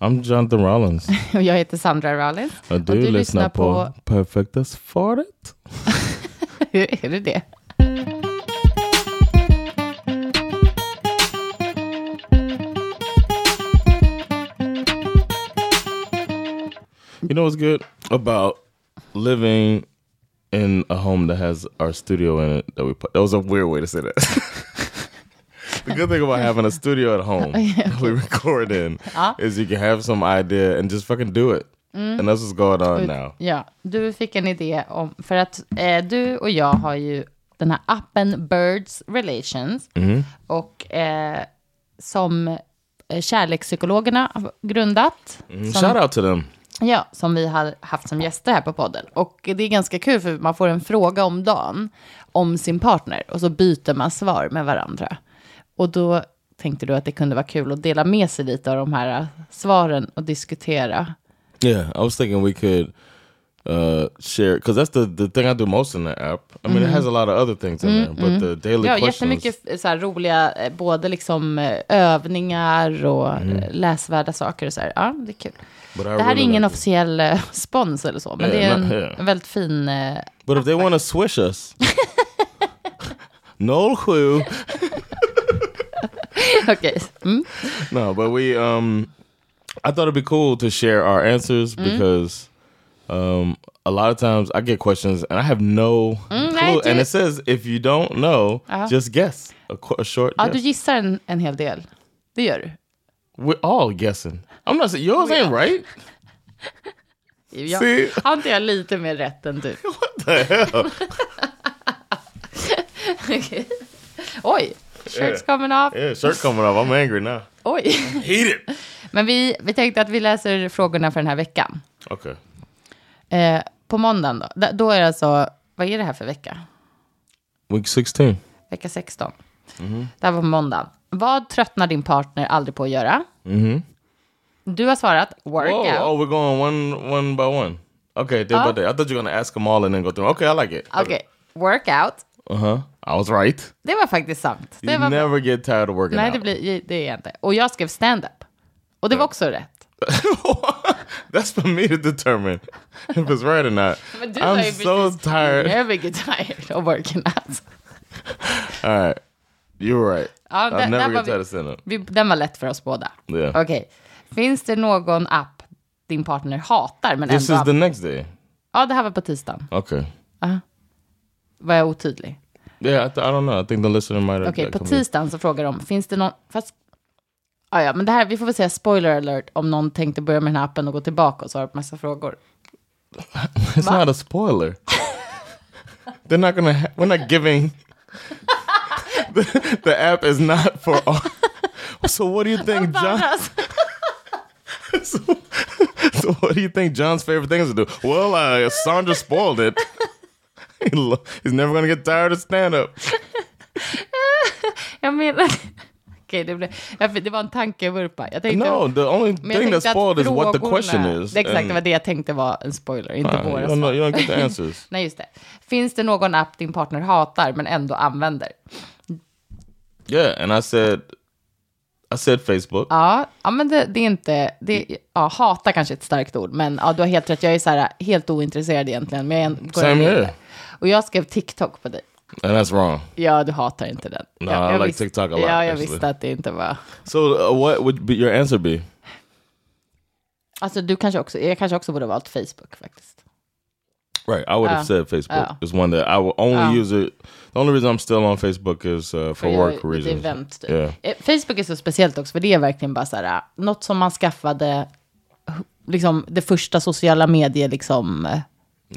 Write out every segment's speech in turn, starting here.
I'm Jonathan Rollins Och jag heter Sandra Rollins. och du, lyssnar, på, Perfekta svaret. Hur är det det? You know what's good about living in a home that has our studio in it that we put. That was a weird way to say that. the good thing about having a studio at home that we record in is you can have some idea and just fucking do it. And that's what's going on now. Ja, du fick en idé om, för att eh, du och jag har ju den här appen Birds Relations. Och eh, som eh, kärlekspsykologerna har grundat. Som, Shout out to them. Ja, som vi har haft som gäster här på podden. Och det är ganska kul för man får en fråga om dagen om sin partner och så byter man svar med varandra. Och då tänkte du att det kunde vara kul att dela med sig lite av de här eh, svaren och diskutera. Yeah, I was thinking we could uh share because that's the the thing I do most in the app. I mean, it has a lot of other things in there, but the daily Ja, questions. jättemycket eh, så här roliga, eh, både liksom eh, övningar och eh, läsvärda saker och så här. Ja, det är kul. But I Det här är really ingen like it. officiell eh, spons eller så, men Yeah, det är not en, here. en väldigt fin... eh, But if they want to swish us, no clue. Okej. Mm. No, but we um, I thought it'd be cool to share our answers because um, a lot of times I get questions and I have no I clue. And do- it says if you don't know, just guess a, qu- a short. Ja, guess. du gissar en, en hel del. Det gör du. We're all guessing. I'm not saying yours ain't right. Jag, See? har inte jag lite mer rätt än du? Okej. Oj, shirt's coming off. Yeah, shirt coming off. I'm angry now. Oj. Heat it. Men vi, vi tänkte att vi läser frågorna för den här veckan. Okay. Eh, på måndagen då, Da- då är det alltså, vad är det här för vecka? Week 16. Vecka 16. Mhm. Det här var på måndagen. Vad tröttnar din partner aldrig på att göra? Du har svarat Mhm. Whoa, oh, workout. we're going one one by one. Okay, day by day. I thought you were gonna ask them all and then go through. 'em. Okay, I like it. Okej, workout. Uh huh. I was right. Det var faktiskt sant. Det You var never get tired of working Nej, out. det, blir, det är jag inte. Och jag skrev stand-up. Och det var också rätt. That's for me to determine if it's right or not. Men du sa I'm ju so precis, tired. Never get tired of working out. All right, you're right. Ja, I'll där- där never var get vi. tired of stand up. Vi, den var lätt för oss båda. Yeah. Okej. Finns det någon app din partner hatar men This ändå... is the next day. Ja, det här var på tisdagen. Okay. Var jag otydlig? Yeah, I, th- I don't know. I think the listener might have. Okej, got på confused. tisdagen så frågar de, finns det någon... Fast... Ah, Ja, ja, men det här, vi får väl säga spoiler alert om någon tänkte börja med den här appen och gå tillbaka och svara på massa frågor. It's not a spoiler. They're not gonna. Ha- we're not giving. the, the app is not for all. So what do you think, John? So, so what do you think John's favorite thing is to do? Well, uh, Sandra spoiled it. He lo- He's never gonna get tired of stand up. Jag menar... Okej, det, blev... jag- det var en tankevurpa. Jag tänkte... No, the only Men jag thing that's tänkte att spoiled is what the frågorna- question is. um, Det är exakt and- det var det jag tänkte var en spoiler, inte Uh, you våra don't know. svar. You don't get the answers. Nej, just det. Finns det någon app din partner hatar men ändå använder? Yeah, and I said, I said Facebook. Ja, ja men det, det är inte... Det, ja, hata kanske är ett starkt ord, men ja, du har helt rätt. Jag är så här, helt ointresserad egentligen, men jag är en- går Same ändå in here. där. Och jag skrev TikTok på dig. and that's wrong. Ja, du hatar inte den. No, ja, I like visste- TikTok a lot, Ja, jag actually. visste att det inte var... So uh, what would be your answer be? Alltså, du kanske också... Jag kanske också borde ha valt Facebook faktiskt. Right, I would have said Facebook Oh. is one that I will only use it. The only reason I'm still on Facebook is uh, for Jag- work lite reasons. event, typ. Yeah. Eh, Facebook är så speciellt också, för det är verkligen bara så här, eh, något som man skaffade, hu- liksom det första sociala medier, liksom, eh,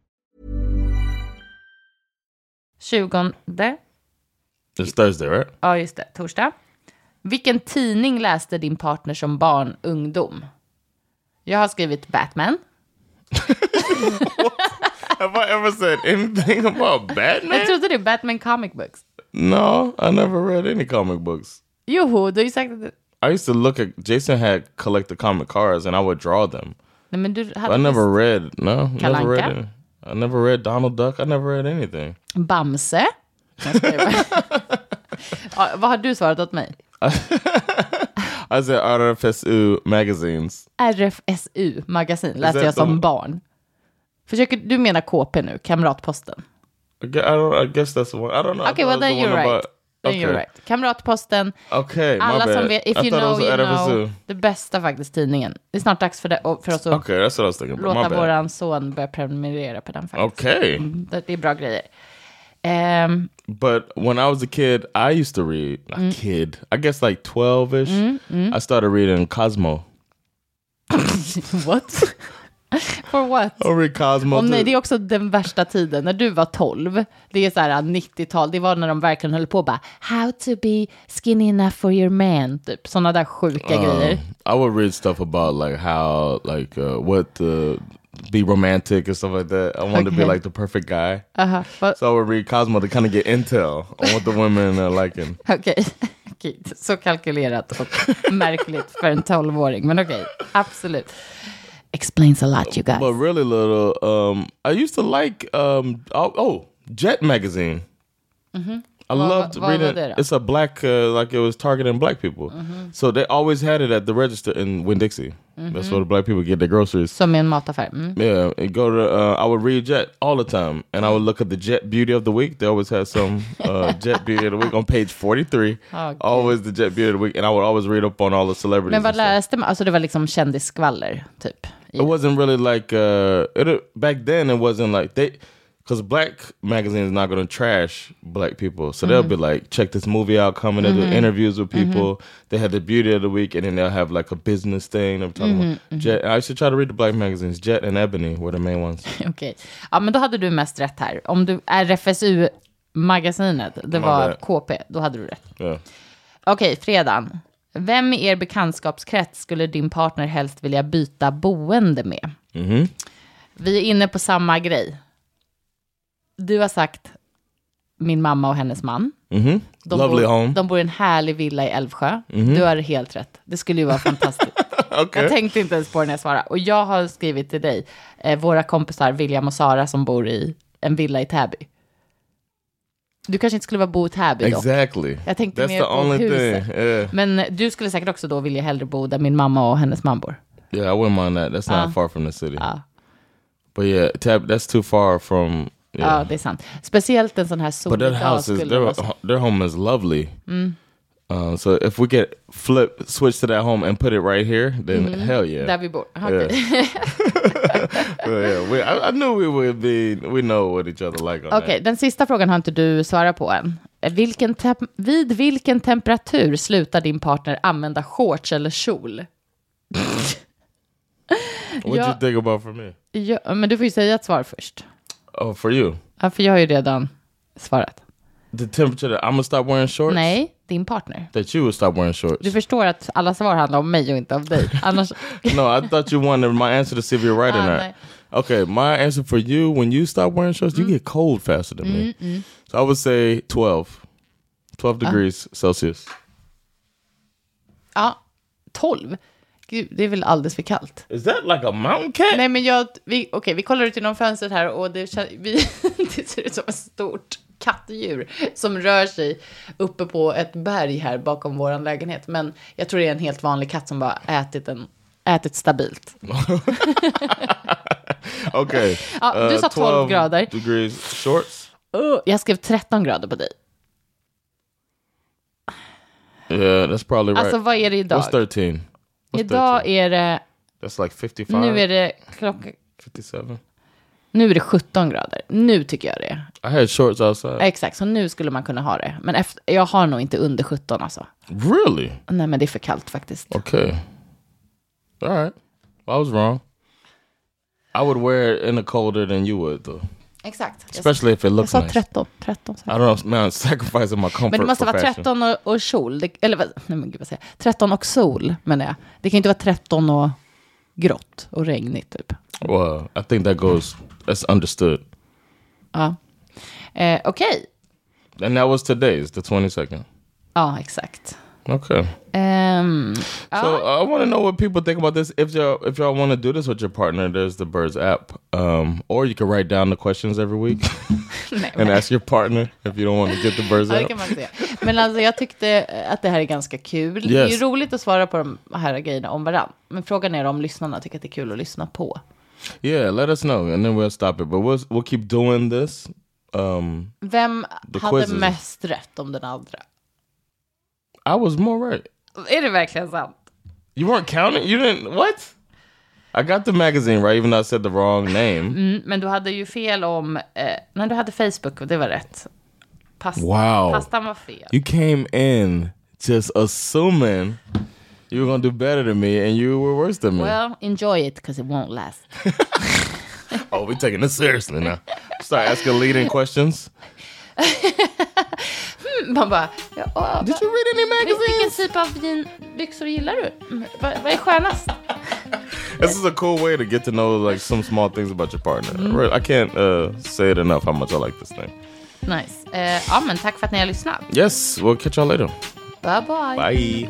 20. It's Thursday, right? Ja, just det. Torsdag. Vilken tidning läste din partner som barn, ungdom? Jag har skrivit Batman. Have I ever said anything about Jag Batman? trodde det, Batman Comic Books. No, I never read any comic books. Joho, du har ju sagt att... I used to look at Jason had collected comic cards, and I would draw them. Nej, men du I hade never read. No, never read Kalanka? any. I never read Donald Duck. I never read anything. Bamse. Jag skojar. ja, vad har du svarat åt mig? I said RFSU magazines. RFSU magasin läste Is that jag som the- barn. Försöker, du menar KP nu, Kamratposten. I gue- I don't. I guess that's the one. I don't know. I Okej, thought well it was then the you're one right. about- Then okay. you're right. Ah, Kamratposten, Okay, my alla som bad. vet, I if you thought it know was you RFSU. know, det bästa faktiskt tidningen. Det är snart dags för, det, och för oss att Okay, that's what I was thinking. About. My låta bad. våran son börja prenumerera på den faktiskt. Mm, Okay, Det, det är bra grejer. Ehm, but when I was a kid, I used to read. A Mm. kid, I guess like twelve ish. I started reading Cosmo. what? For what? I read Cosmo. Och nej, too. det är också den värsta tiden, när du var 12. Det är så här 90-tal, det var när de verkligen höll på och bara How to be skinny enough for your man, typ. Sådana där sjuka grejer. I would read stuff about like how like uh, what the be romantic or stuff like that. I wanted to be Okay. like the perfect guy. Aha, vad- So I would read Cosmo to kind of get intel on what the women are liking. Okej. Okej, så kalkylerat och märkligt för en tolvåring. Men okej, absolut. Explains a lot you But guys. really little, um, I used to like um, oh, oh Jet magazine. I Vad- loved vad var reading. det då? It's a black, uh, like it was targeting black people. So they always had it at the register in Winn Dixie. That's where the black people get their groceries. Som i en mataffär. Mm. Yeah, and go to. Uh, I would read Jet all the time, and I would look at the Jet Beauty of the Week. They always had some uh, Jet Beauty of the Week on page forty-three. Oh, always the Jet Beauty of the Week, and I would always read up on all the celebrities. Men vad and stuff. läste man? Alltså det var liksom kändisskvaller, typ. i- It wasn't really like uh, it back then. It wasn't like they, because black magazines not gonna trash black people, so they'll be like, check this movie out. Coming, they'll do interviews with people. They had the beauty of the week, and then they'll have like a business thing. They're talking about Jet. I used to try to read the black magazines. Jet and Ebony were the main ones. Okej. Ja, men då hade du mest rätt här. Om du RFSU-magasinet, det var bad. KP, då hade du rätt. Yeah. Okej, fredagen. Vem i er bekantskapskrets skulle din partner helst vilja byta boende med? Mhm. Vi är inne på samma grej. Du har sagt min mamma och hennes man. De Mhm. Lovely bor, home. Mhm. De bor i en härlig villa i Älvsjö. Du har helt rätt. Det skulle ju vara fantastiskt. Okay. Jag tänkte inte ens på det när jag svarade. Och jag har skrivit till dig, eh, våra kompisar William och Sara som bor i en villa i Täby. Du kanske inte skulle vara bo i Täby då. exactly. Jag tänkte That's mer the på only huset. thing. Yeah. Men du skulle säkert också då vilja hellre bo där min mamma och hennes man bor. Yeah, I wouldn't mind that. That's not far from the city. Ah. But yeah, tab that's too far from. Ja, Yeah. det är sant. Speciellt en sån här but solig their dag house is skulle their det vara så. their home is lovely. Um, so if we could flip switch to that home and put it right here, then hell yeah. Där vi bor. Aha, yeah. okej. But yeah, we, I, I knew we would be. We know what each other like. On Okej, den sista frågan har inte du svarat på än. Eh, Vilken tem- vid vilken temperatur slutar din partner använda shorts eller kjol? that. What'd Ja. you think about for me? Ja, men du får ju säga ett svar först. Oh, for you, Ja, för jag har ju redan svarat. the temperature that I'm gonna stop wearing shorts. Nej, din partner. That you would stop wearing shorts. Du förstår att alla svar handlar om mig och inte om dig. Annars... no, I thought you wanted my answer to see if you're right or Ah, not. nej. Okay, my answer for you: when you stop wearing shorts, you get cold faster than me. So I would say 12, 12 degrees Celsius. Ja, 12. Gud, det är väl alldeles för kallt. Is that like a mountain cat? Nej, men jag... Vi, okej, vi kollar ut genom fönstret här och det, kän- vi, det ser ut som ett stort kattdjur som rör sig uppe på ett berg här bakom vår lägenhet. Men jag tror det är en helt vanlig katt som bara ätit, en, ätit stabilt. Okay. Uh, Ja, du sa 12 grader. eh? degrees shorts. Åh, Oh, jag skrev 13 grader på dig. Yeah, that's probably right. Alltså, vad är det idag? What's 13? What's Idag 13? är det... That's like 55, Nu är det klockan... 57. Nu är det 17 grader. Nu tycker jag det. I had shorts outside. Exakt, så nu skulle man kunna ha det. Men efter, jag har nog inte under 17 alltså. Really? Nej, men det är för kallt faktiskt. Okay. All right. Well, I was wrong. I would wear it in the colder than you would, though. Exakt. Jag sa- Especially if it Jag looks sa nice. 13. 13 sa jag. I don't know, man, I'm sacrificing my comfort men det måste for vara fashion. 13 och, och kjol. Det, eller vad, nej men gud vad säger jag? 13 och sol menar jag. Det kan ju inte vara 13 och grått och regnigt typ. Well, I think that goes, that's understood. Eh, Okej. And that was today's, the 22nd. Ja, exakt. Okay. Ehm, So I want to know what people think about this. If y'all if y'all want to do this with your partner, there's the Birds app, um, or you can write down the questions every week and ask your partner if you don't want to get the Birds Ja, det app. kan man se. Men alltså jag tyckte att det här är ganska kul. Det är ju Yes. roligt att svara på de här grejerna om varandra. Men frågan är om lyssnarna tycker att det är kul att lyssna på. Yeah, let us know, and then we'll stop it. But we'll we'll keep doing this. Um, Vem The hade quizzes. mest rätt om den andra? I was more right. Är det verkligen sant? You weren't counting. You didn't what? I got the magazine right, even though I said the wrong name. Mm, men du hade ju fel om... Eh, nej, du hade Facebook och det var rätt. Pasta, Wow. Pastan var fel. You came in just assuming you were gonna do better than me, and you were worse than me. Well, enjoy it because it won't last. Oh, we taking this seriously now. Start asking leading questions. Man bara... Ja, åh, Did you read any vil- vilken magazines? typ av jean- byxor gillar du? Mm, Vad, vad är skönast? This is a cool way to get to know like some small things about your partner. Mm-hmm. Really, I can't uh, say it enough how much I like this thing. Nice. Eh, ja, men tack för att ni har lyssnat. Yes, we'll catch y'all later. Bye, bye. Bye.